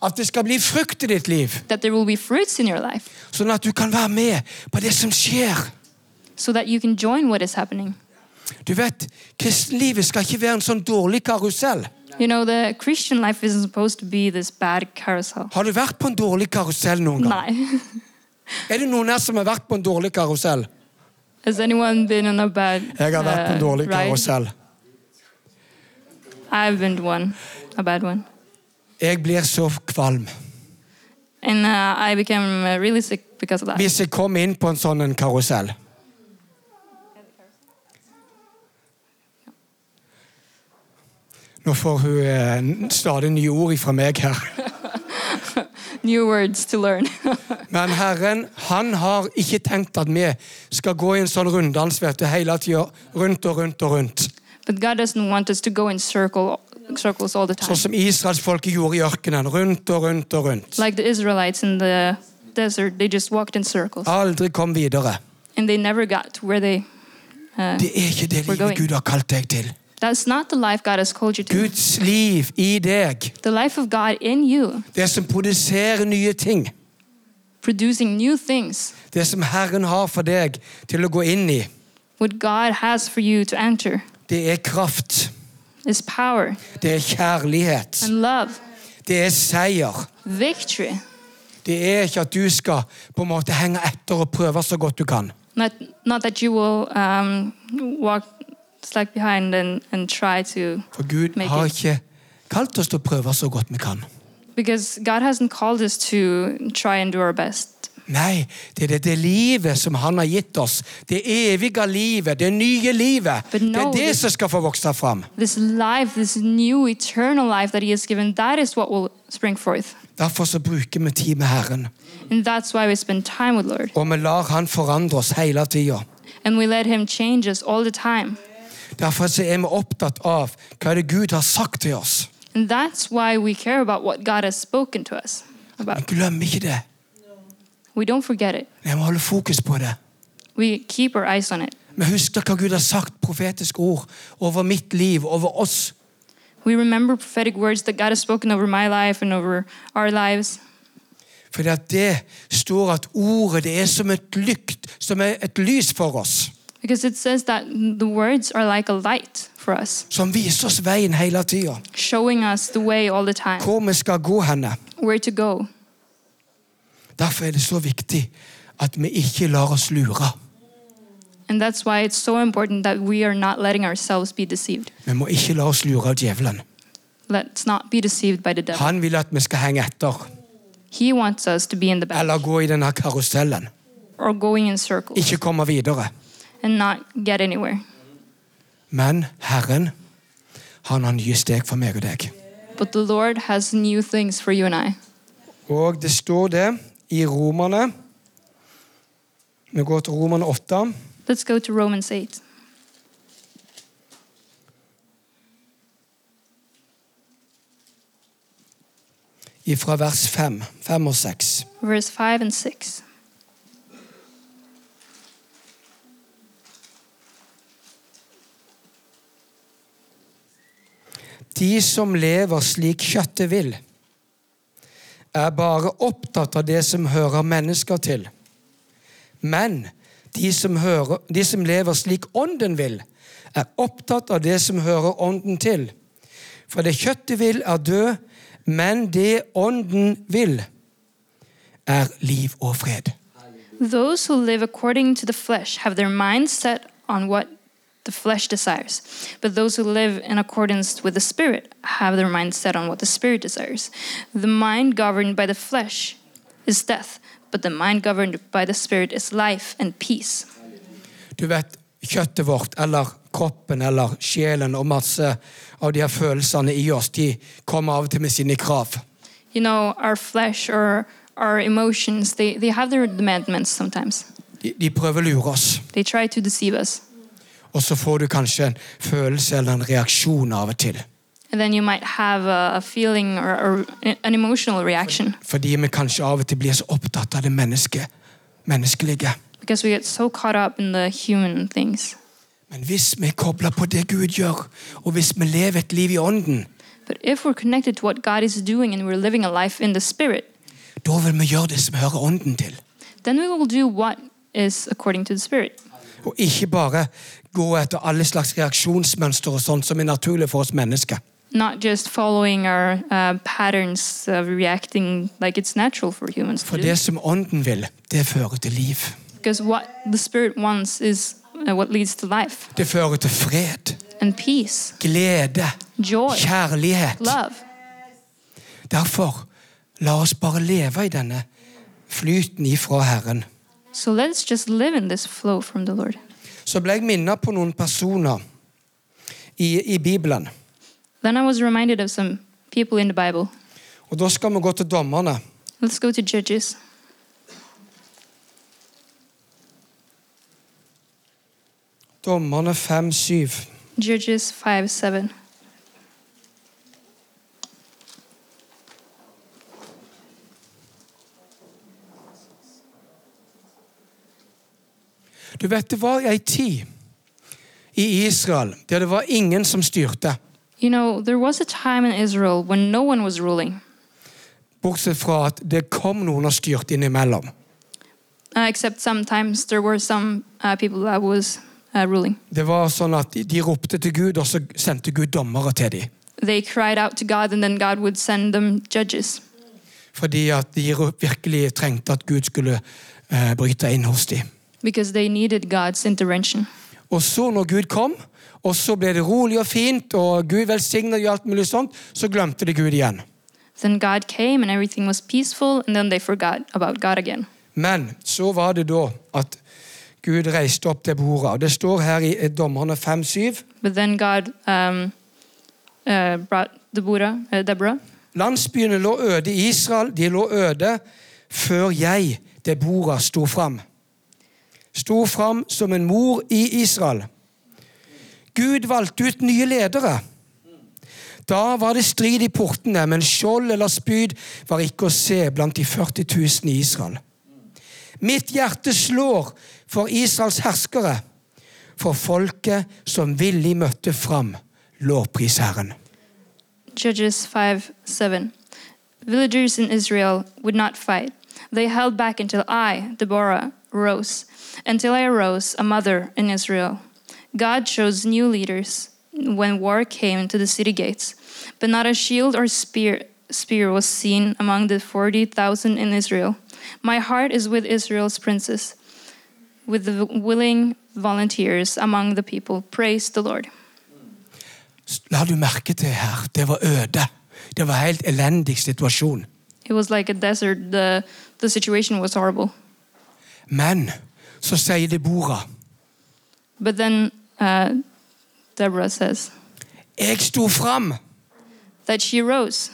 Speaker 2: At det skal bli frukt i ditt liv,
Speaker 3: that there will be fruits in your life,
Speaker 2: sånn at du kan være med på det som skjer.
Speaker 3: so that you can join what is happening.
Speaker 2: Du vet, Kristenlivet skal ikke være en sånn dårlig karusell.
Speaker 3: You know, the Christian life isn't supposed to be this bad carousel.
Speaker 2: Har du vært på en dårlig karusell noen gang?
Speaker 3: Lie.
Speaker 2: Er det noen her som har vært på en dårlig karusell?
Speaker 3: Has anyone been on a bad
Speaker 2: Jeg har vært på en
Speaker 3: uh,
Speaker 2: dårlig
Speaker 3: ride?
Speaker 2: karusell.
Speaker 3: I've been to one, a bad one.
Speaker 2: Jeg blir så kvalm.
Speaker 3: And uh, I became uh, really sick because of that.
Speaker 2: Hvis jeg kom inn på en sånn en karusell. Nå får hun eh, stadig nye ord fra meg her.
Speaker 3: New words to learn.
Speaker 2: Men Herren han har ikke tenkt at vi skal gå i en sånn runddans vet du, hele tida. Rundt og rundt og rundt.
Speaker 3: but God doesn't want us to go in circle, circles all the time.
Speaker 2: Sånn som israelsfolket gjorde i ørkenen. Rundt og rundt og rundt.
Speaker 3: like the Israelites in the desert, they just walked in circles
Speaker 2: Aldri kom videre.
Speaker 3: and they never got to where they. Uh,
Speaker 2: Det er ikke det
Speaker 3: We're
Speaker 2: livet
Speaker 3: going.
Speaker 2: Gud har kalt deg til.
Speaker 3: that's not the life God has called you to.
Speaker 2: Guds liv i deg,
Speaker 3: The life of God in you,
Speaker 2: det som produserer nye ting,
Speaker 3: producing new things,
Speaker 2: det som Herren har for deg til å gå inn i,
Speaker 3: what God has for you to enter
Speaker 2: det er kraft.
Speaker 3: is power
Speaker 2: Det er kjærlighet.
Speaker 3: and love,
Speaker 2: Det er seier.
Speaker 3: victory.
Speaker 2: Det er ikke at du skal på en måte henge etter og prøve så godt du kan.
Speaker 3: Not, not that you will um, walk slack behind and, and try to.
Speaker 2: For Gud
Speaker 3: Make
Speaker 2: har
Speaker 3: it.
Speaker 2: ikke kalt oss til å prøve så godt vi kan.
Speaker 3: Because God hasn't called us to try and do our best.
Speaker 2: Nei, det er det, det livet som Han har gitt oss. Det evige livet, det nye livet.
Speaker 3: But no,
Speaker 2: det er det
Speaker 3: this-
Speaker 2: som skal få vokse fram.
Speaker 3: This life, this new eternal life that He has given, that is what will spring forth.
Speaker 2: Derfor så bruker vi tid med Herren,
Speaker 3: And that's why we spend time with Lord.
Speaker 2: og vi lar Han forandre oss hele tida.
Speaker 3: And we let Him change us all the time.
Speaker 2: Derfor så er vi opptatt av hva er det Gud har sagt til oss.
Speaker 3: And that's why we care about what God has spoken to us
Speaker 2: Vi
Speaker 3: about.
Speaker 2: glemmer ikke det.
Speaker 3: We don't forget it.
Speaker 2: Vi må holde fokus på det.
Speaker 3: We keep our eyes on it.
Speaker 2: Vi husker hva Gud har sagt, profetiske ord, over mitt liv, over oss.
Speaker 3: We remember prophetic words that God has spoken over my life and over our lives.
Speaker 2: For det står at ordet det er som et lykt, som er et lys for oss.
Speaker 3: Because it says that the words are like a light for us,
Speaker 2: Som viser oss veien hele tida.
Speaker 3: showing us the way all the time,
Speaker 2: Hvor vi skal gå henne.
Speaker 3: where to go.
Speaker 2: Derfor er det så viktig at vi ikke lar oss lure.
Speaker 3: And that's why it's so important that we are not letting ourselves be deceived.
Speaker 2: Vi må ikke la oss lure av djevelen.
Speaker 3: Let's not be deceived by the devil.
Speaker 2: Han vil at vi skal henge etter,
Speaker 3: He wants us to be in the back
Speaker 2: eller gå i denne karusellen.
Speaker 3: or going in circles
Speaker 2: Ikke komme videre.
Speaker 3: and not get anywhere.
Speaker 2: Men Herren, han har nye steg for meg og deg.
Speaker 3: But the Lord has new things for you and I.
Speaker 2: Og det står det i Romerne Vi går til Roman 8.
Speaker 3: Let's go to Romans 8.
Speaker 2: ifra vers 5, 5 og 6.
Speaker 3: verse 5 and 6.
Speaker 2: De som lever slik kjøttet vil, er bare opptatt av det som hører mennesker til. Men de som, hører, de som lever slik ånden vil, er opptatt av det som hører ånden til. For det kjøttet vil, er død, men det ånden vil, er liv og fred.
Speaker 3: Those who live according to the flesh have their minds set on what the flesh desires, but those who live in accordance with the Spirit have their minds set on what the Spirit desires. The mind governed by the flesh is death, but the mind governed by the Spirit is life and peace.
Speaker 2: du vet, kjøttet vårt, eller kroppen, eller sjelen, og masse av de her følelsene i oss, de kommer av og til med sine krav.
Speaker 3: You know, our flesh or our emotions, they, they have their demandments sometimes.
Speaker 2: De, de prøver å lure oss,
Speaker 3: They try to deceive us.
Speaker 2: og så får du kanskje en følelse eller en reaksjon av og til.
Speaker 3: And then you might have a, a feeling or, or an emotional reaction
Speaker 2: Fordi vi kanskje av og til blir så opptatt av det menneske, menneskelige.
Speaker 3: because we get so caught up in the human things.
Speaker 2: Men hvis vi kobler på det Gud gjør, og hvis vi lever et liv i ånden,
Speaker 3: But if we're connected to what God is doing and we're living a life in the Spirit,
Speaker 2: da vil vi gjøre det som hører ånden til.
Speaker 3: then we will do what is according to the Spirit.
Speaker 2: Og ikke bare gå etter alle slags reaksjonsmønster og sånt som er naturlig for oss mennesker.
Speaker 3: Not just following our uh, patterns of reacting like it's natural for humans
Speaker 2: For
Speaker 3: to do.
Speaker 2: det som ånden vil, det fører til liv.
Speaker 3: Because what the Spirit wants is uh, what leads to life
Speaker 2: Det fører til fred,
Speaker 3: and peace,
Speaker 2: glede,
Speaker 3: joy,
Speaker 2: kjærlighet.
Speaker 3: love.
Speaker 2: Derfor, la oss bare leve i denne flyten ifra Herren.
Speaker 3: So let's just live in this flow from the Lord.
Speaker 2: Så ble jeg minnet på noen personer i, i Bibelen.
Speaker 3: Then I was reminded of some people in the Bible.
Speaker 2: Og da skal vi gå til dommerne.
Speaker 3: Let's go to Judges.
Speaker 2: Dommerne 5-7.
Speaker 3: Judges 5 7.
Speaker 2: Du vet, det var ei tid i Israel der det var ingen som styrte,
Speaker 3: You know, there was a time in Israel when no one was ruling,
Speaker 2: bortsett fra at det kom noen og styrte innimellom.
Speaker 3: uh, except sometimes there were some uh, people that was uh, ruling.
Speaker 2: Det var sånn at de- De ropte til Gud, og så sendte Gud dommere til dem.
Speaker 3: They cried out to God, and then God would send them judges
Speaker 2: Fordi at de ro- virkelig trengte at Gud skulle eh, bryte inn hos dem.
Speaker 3: because they needed God's intervention.
Speaker 2: Og så, når Gud kom, og så ble det rolig og fint, og Gud velsignet og alt mulig sånt, så glemte de Gud igjen.
Speaker 3: Then God came, and everything was peaceful, and then they forgot about God again.
Speaker 2: Men så var det da at Gud reiste opp det bordet. Og det står her i eh, Dommerne 5-7.
Speaker 3: But then God um, uh, brought Deborah, uh, Deborah.
Speaker 2: Landsbyene lå øde i Israel, de lå øde før jeg, det bordet, sto fram. Sto fram som en mor i Israel. Gud valgte ut nye ledere. Da var det strid i portene, men skjold eller spyd var ikke å se blant de 40 000 i Israel. Mitt hjerte slår for Israels herskere, for folket som villig møtte fram. Lovpris Herren.
Speaker 3: Judges 5 7. Villagers in Israel would not fight. They held back until I, Deborah, rose, until I arose, a mother in Israel. God chose new leaders when war came to the city gates, but not a shield or spear, spear was seen among the 40,000 in Israel. My heart is with Israel's princes, with the willing volunteers among the people. Praise the Lord.
Speaker 2: La du merke til her, det var øde. Det var helt elendig situasjon.
Speaker 3: It was like a desert. The the situation was horrible.
Speaker 2: Men så sier Deborah,
Speaker 3: But then uh, Deborah says
Speaker 2: jeg sto fram.
Speaker 3: that she rose.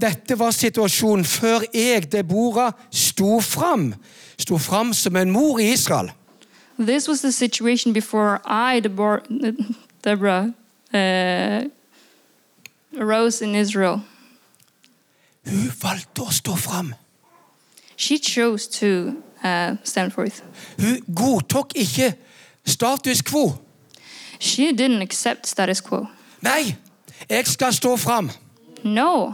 Speaker 2: Dette var situasjonen før jeg, Deborah, sto fram. Sto fram som en mor i Israel.
Speaker 3: This was the situation before I, Deborah, Deborah uh, arose in Israel.
Speaker 2: Hun valgte å stå fram.
Speaker 3: She chose to uh, stand forth.
Speaker 2: Hun godtok ikke status quo.
Speaker 3: She didn't accept status quo.
Speaker 2: Nei, jeg skal stå fram.
Speaker 3: No,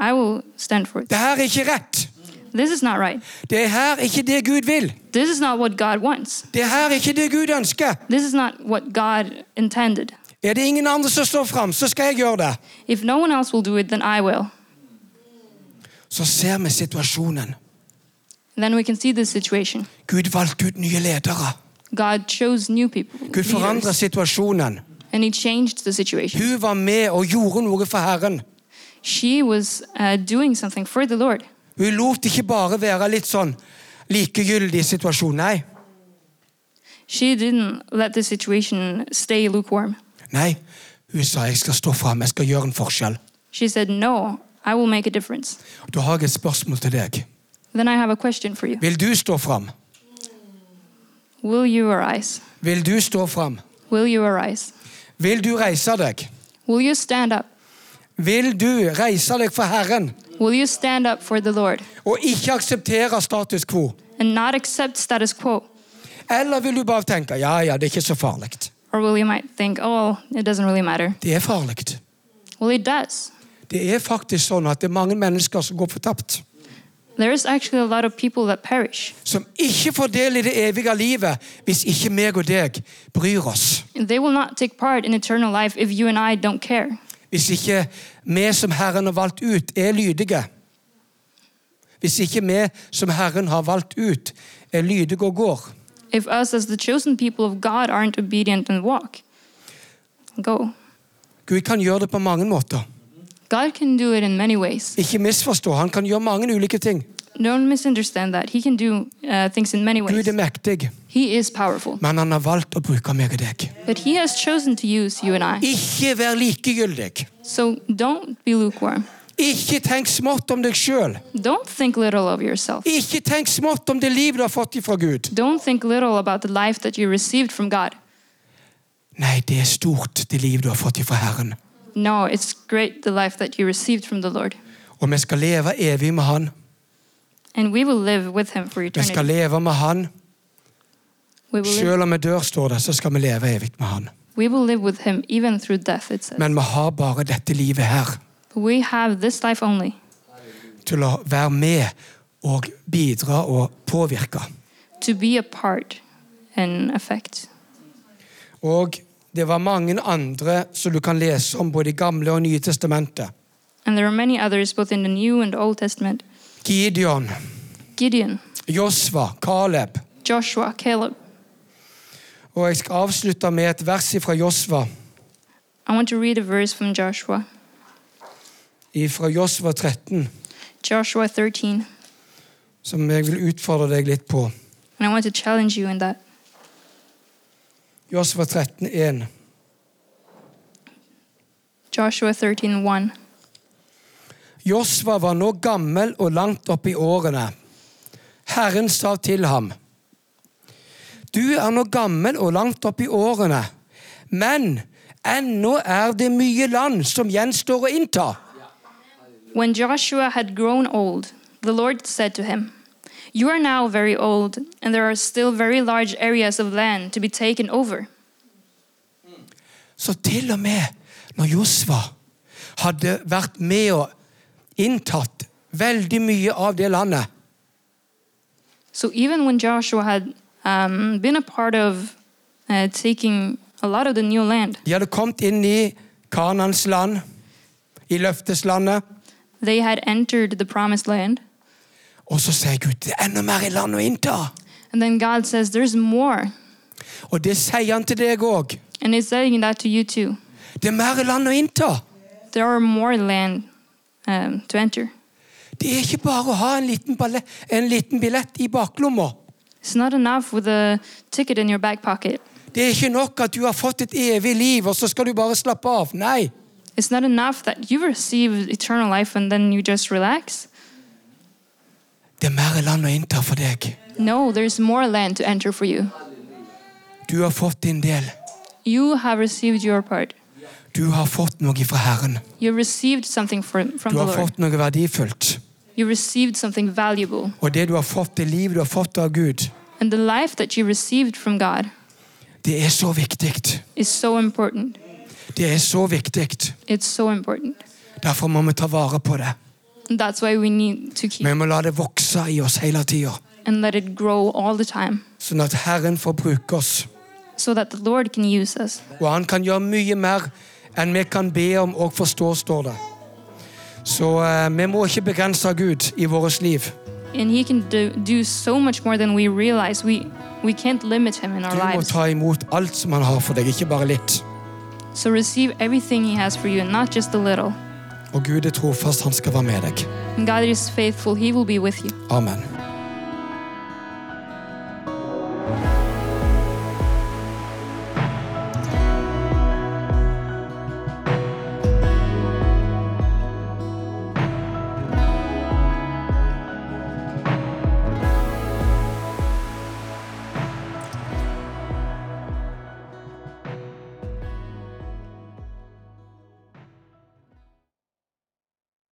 Speaker 3: I will stand forth.
Speaker 2: Det her er ikke rett.
Speaker 3: This is not right.
Speaker 2: Det her er ikke det Gud vil.
Speaker 3: This is not what God wants.
Speaker 2: Det her er ikke det Gud ønsker.
Speaker 3: This is not what God intended.
Speaker 2: Er det ingen andre som står fram, så skal jeg gjøre det.
Speaker 3: If no one else will do it, then I will.
Speaker 2: Så ser vi situasjonen.
Speaker 3: Then we can see this situation.
Speaker 2: Gud valgte ut nye ledere.
Speaker 3: God chose new people,
Speaker 2: Gud forandret
Speaker 3: leaders,
Speaker 2: situasjonen.
Speaker 3: and He changed the situation.
Speaker 2: Hun var med og gjorde noe for Herren.
Speaker 3: She was uh, doing something for the Lord.
Speaker 2: Hun lot ikke bare være litt sånn likegyldig i situasjonen. Nei.
Speaker 3: She didn't let the situation stay lukewarm.
Speaker 2: Nei. Hun sa jeg skal stå fram, jeg skal gjøre en forskjell.
Speaker 3: She said, No, I will make a difference.
Speaker 2: Da har jeg et spørsmål til deg.
Speaker 3: Then I have a question for you.
Speaker 2: Vil du stå fram?
Speaker 3: Will you arise?
Speaker 2: Vil du stå fram?
Speaker 3: Will you arise?
Speaker 2: Vil du reise deg?
Speaker 3: Will you stand up?
Speaker 2: Vil du reise deg for Herren
Speaker 3: Will you stand up for the Lord
Speaker 2: og ikke akseptere status quo?
Speaker 3: and not accept status quo?
Speaker 2: Eller vil du bare tenke ja, ja, det er ikke så farlig?
Speaker 3: Or will you might think, oh, it doesn't really matter.
Speaker 2: Det er farlig.
Speaker 3: Well, it does.
Speaker 2: Det er faktisk sånn at det er mange mennesker som går fortapt.
Speaker 3: There is actually a lot of people that perish.
Speaker 2: Som ikke får del i det evige livet hvis ikke meg og deg bryr oss.
Speaker 3: They will not take part in eternal life if you and I don't care.
Speaker 2: Hvis ikke vi som Herren har valgt ut, er lydige. Hvis ikke vi som Herren har valgt ut, er lydige og går.
Speaker 3: If us, as the chosen people of God, aren't obedient and walk, go.
Speaker 2: Gud kan gjøre det på mange måter.
Speaker 3: God can do it in many ways.
Speaker 2: Ikke misforstå. Han kan gjøre mange ulike ting.
Speaker 3: Don't misunderstand that. He can do uh, things in many
Speaker 2: Gud
Speaker 3: ways.
Speaker 2: er mektig,
Speaker 3: He is powerful.
Speaker 2: men han har valgt å bruke meg og deg.
Speaker 3: But He has chosen to use you and I.
Speaker 2: Ikke vær likegyldig.
Speaker 3: So don't be lukewarm.
Speaker 2: Ikke tenk smått om deg sjøl.
Speaker 3: Don't think little of yourself.
Speaker 2: Ikke tenk smått om det livet du har fått ifra Gud.
Speaker 3: Don't think little about the life that you received from God.
Speaker 2: Nei, det er stort, det livet du har fått ifra Herren.
Speaker 3: No, it's great the life that you received from the Lord.
Speaker 2: Og vi skal leve evig med Han.
Speaker 3: And we will live with Him for
Speaker 2: Vi skal
Speaker 3: eternity.
Speaker 2: leve med Han.
Speaker 3: We will live,
Speaker 2: Selv om vi dør, står det, så skal vi leve evig med Han.
Speaker 3: we will live with Him even through death, it says.
Speaker 2: Men vi har bare dette livet her
Speaker 3: But we have this life only
Speaker 2: til å være med og bidra og påvirke.
Speaker 3: to be a part and affect.
Speaker 2: Og det var mange andre som du kan lese om både i Gamle og Nye testamentet.
Speaker 3: And there are many others, both in the New and Old Testament
Speaker 2: Gideon,
Speaker 3: Gideon,
Speaker 2: Josva, Caleb.
Speaker 3: Joshua, Caleb.
Speaker 2: Og jeg skal avslutte med et vers fra Josva,
Speaker 3: I want to read a verse from Joshua,
Speaker 2: fra Josva 13,
Speaker 3: Joshua 13.
Speaker 2: som jeg vil utfordre deg litt på.
Speaker 3: And I want to challenge you in that.
Speaker 2: Josva 13, 1.
Speaker 3: Joshua 13 1.
Speaker 2: Josva var nå gammel og langt oppe i årene. Herren sa til ham, Du er nå gammel og langt oppe i årene, men ennå er det mye land som gjenstår å innta.
Speaker 3: When Joshua had grown old, the Lord said to him, You are now very old, and there are still very large areas of land to be taken over.
Speaker 2: Så til og med når Josva hadde vært med og inntatt veldig mye av det landet,
Speaker 3: So even when Joshua had um, been a part of uh, taking a lot of the new land,
Speaker 2: de hadde kommet inn i Kanans land, i løfteslandet,
Speaker 3: they had entered the promised land.
Speaker 2: og så sier Gud det er enda mer i land å innta.
Speaker 3: And then God says, There's more.
Speaker 2: Og det sier han til deg òg.
Speaker 3: And He's saying that to you too.
Speaker 2: Det er mer land å innta.
Speaker 3: There are more land um, to enter.
Speaker 2: Det er ikke bare å ha en liten, balle, en liten billett i baklomma.
Speaker 3: It's not enough with a ticket in your back pocket.
Speaker 2: Det er ikke nok at du har fått et evig liv, og så skal du bare slappe av. Nei.
Speaker 3: It's not enough that you receive eternal life and then you just relax.
Speaker 2: Det er mer land å innta for deg.
Speaker 3: No, there's more land to enter for you.
Speaker 2: Du har fått din del.
Speaker 3: You have received your part.
Speaker 2: Du har fått noe fra Herren.
Speaker 3: You received something from, from
Speaker 2: Du
Speaker 3: the
Speaker 2: har
Speaker 3: Lord.
Speaker 2: fått noe verdifullt.
Speaker 3: You received something valuable.
Speaker 2: Og det du har fått, det livet du har fått av Gud,
Speaker 3: And the life that you received from God
Speaker 2: det er så viktig.
Speaker 3: is so important.
Speaker 2: Det er så viktig.
Speaker 3: It's so important.
Speaker 2: Derfor må vi ta vare på det.
Speaker 3: And that's why we need to keep
Speaker 2: Vi må la det vokse i oss hele tida,
Speaker 3: and let it grow all the time
Speaker 2: sånn at Herren får bruke oss.
Speaker 3: so that the Lord can use us.
Speaker 2: Og han kan gjøre mye mer enn vi kan be om og forstå, står det. Så eh, vi må ikke begrense Gud i vårt liv.
Speaker 3: And He can do, do so much more than we realize. We, we can't limit Him in our
Speaker 2: Du må
Speaker 3: lives.
Speaker 2: ta imot alt som han har for deg, ikke bare litt.
Speaker 3: So receive everything He has for you and not just a little.
Speaker 2: Og Gud er trofast, han skal være med deg.
Speaker 3: And God is faithful, He will be with you.
Speaker 2: Amen.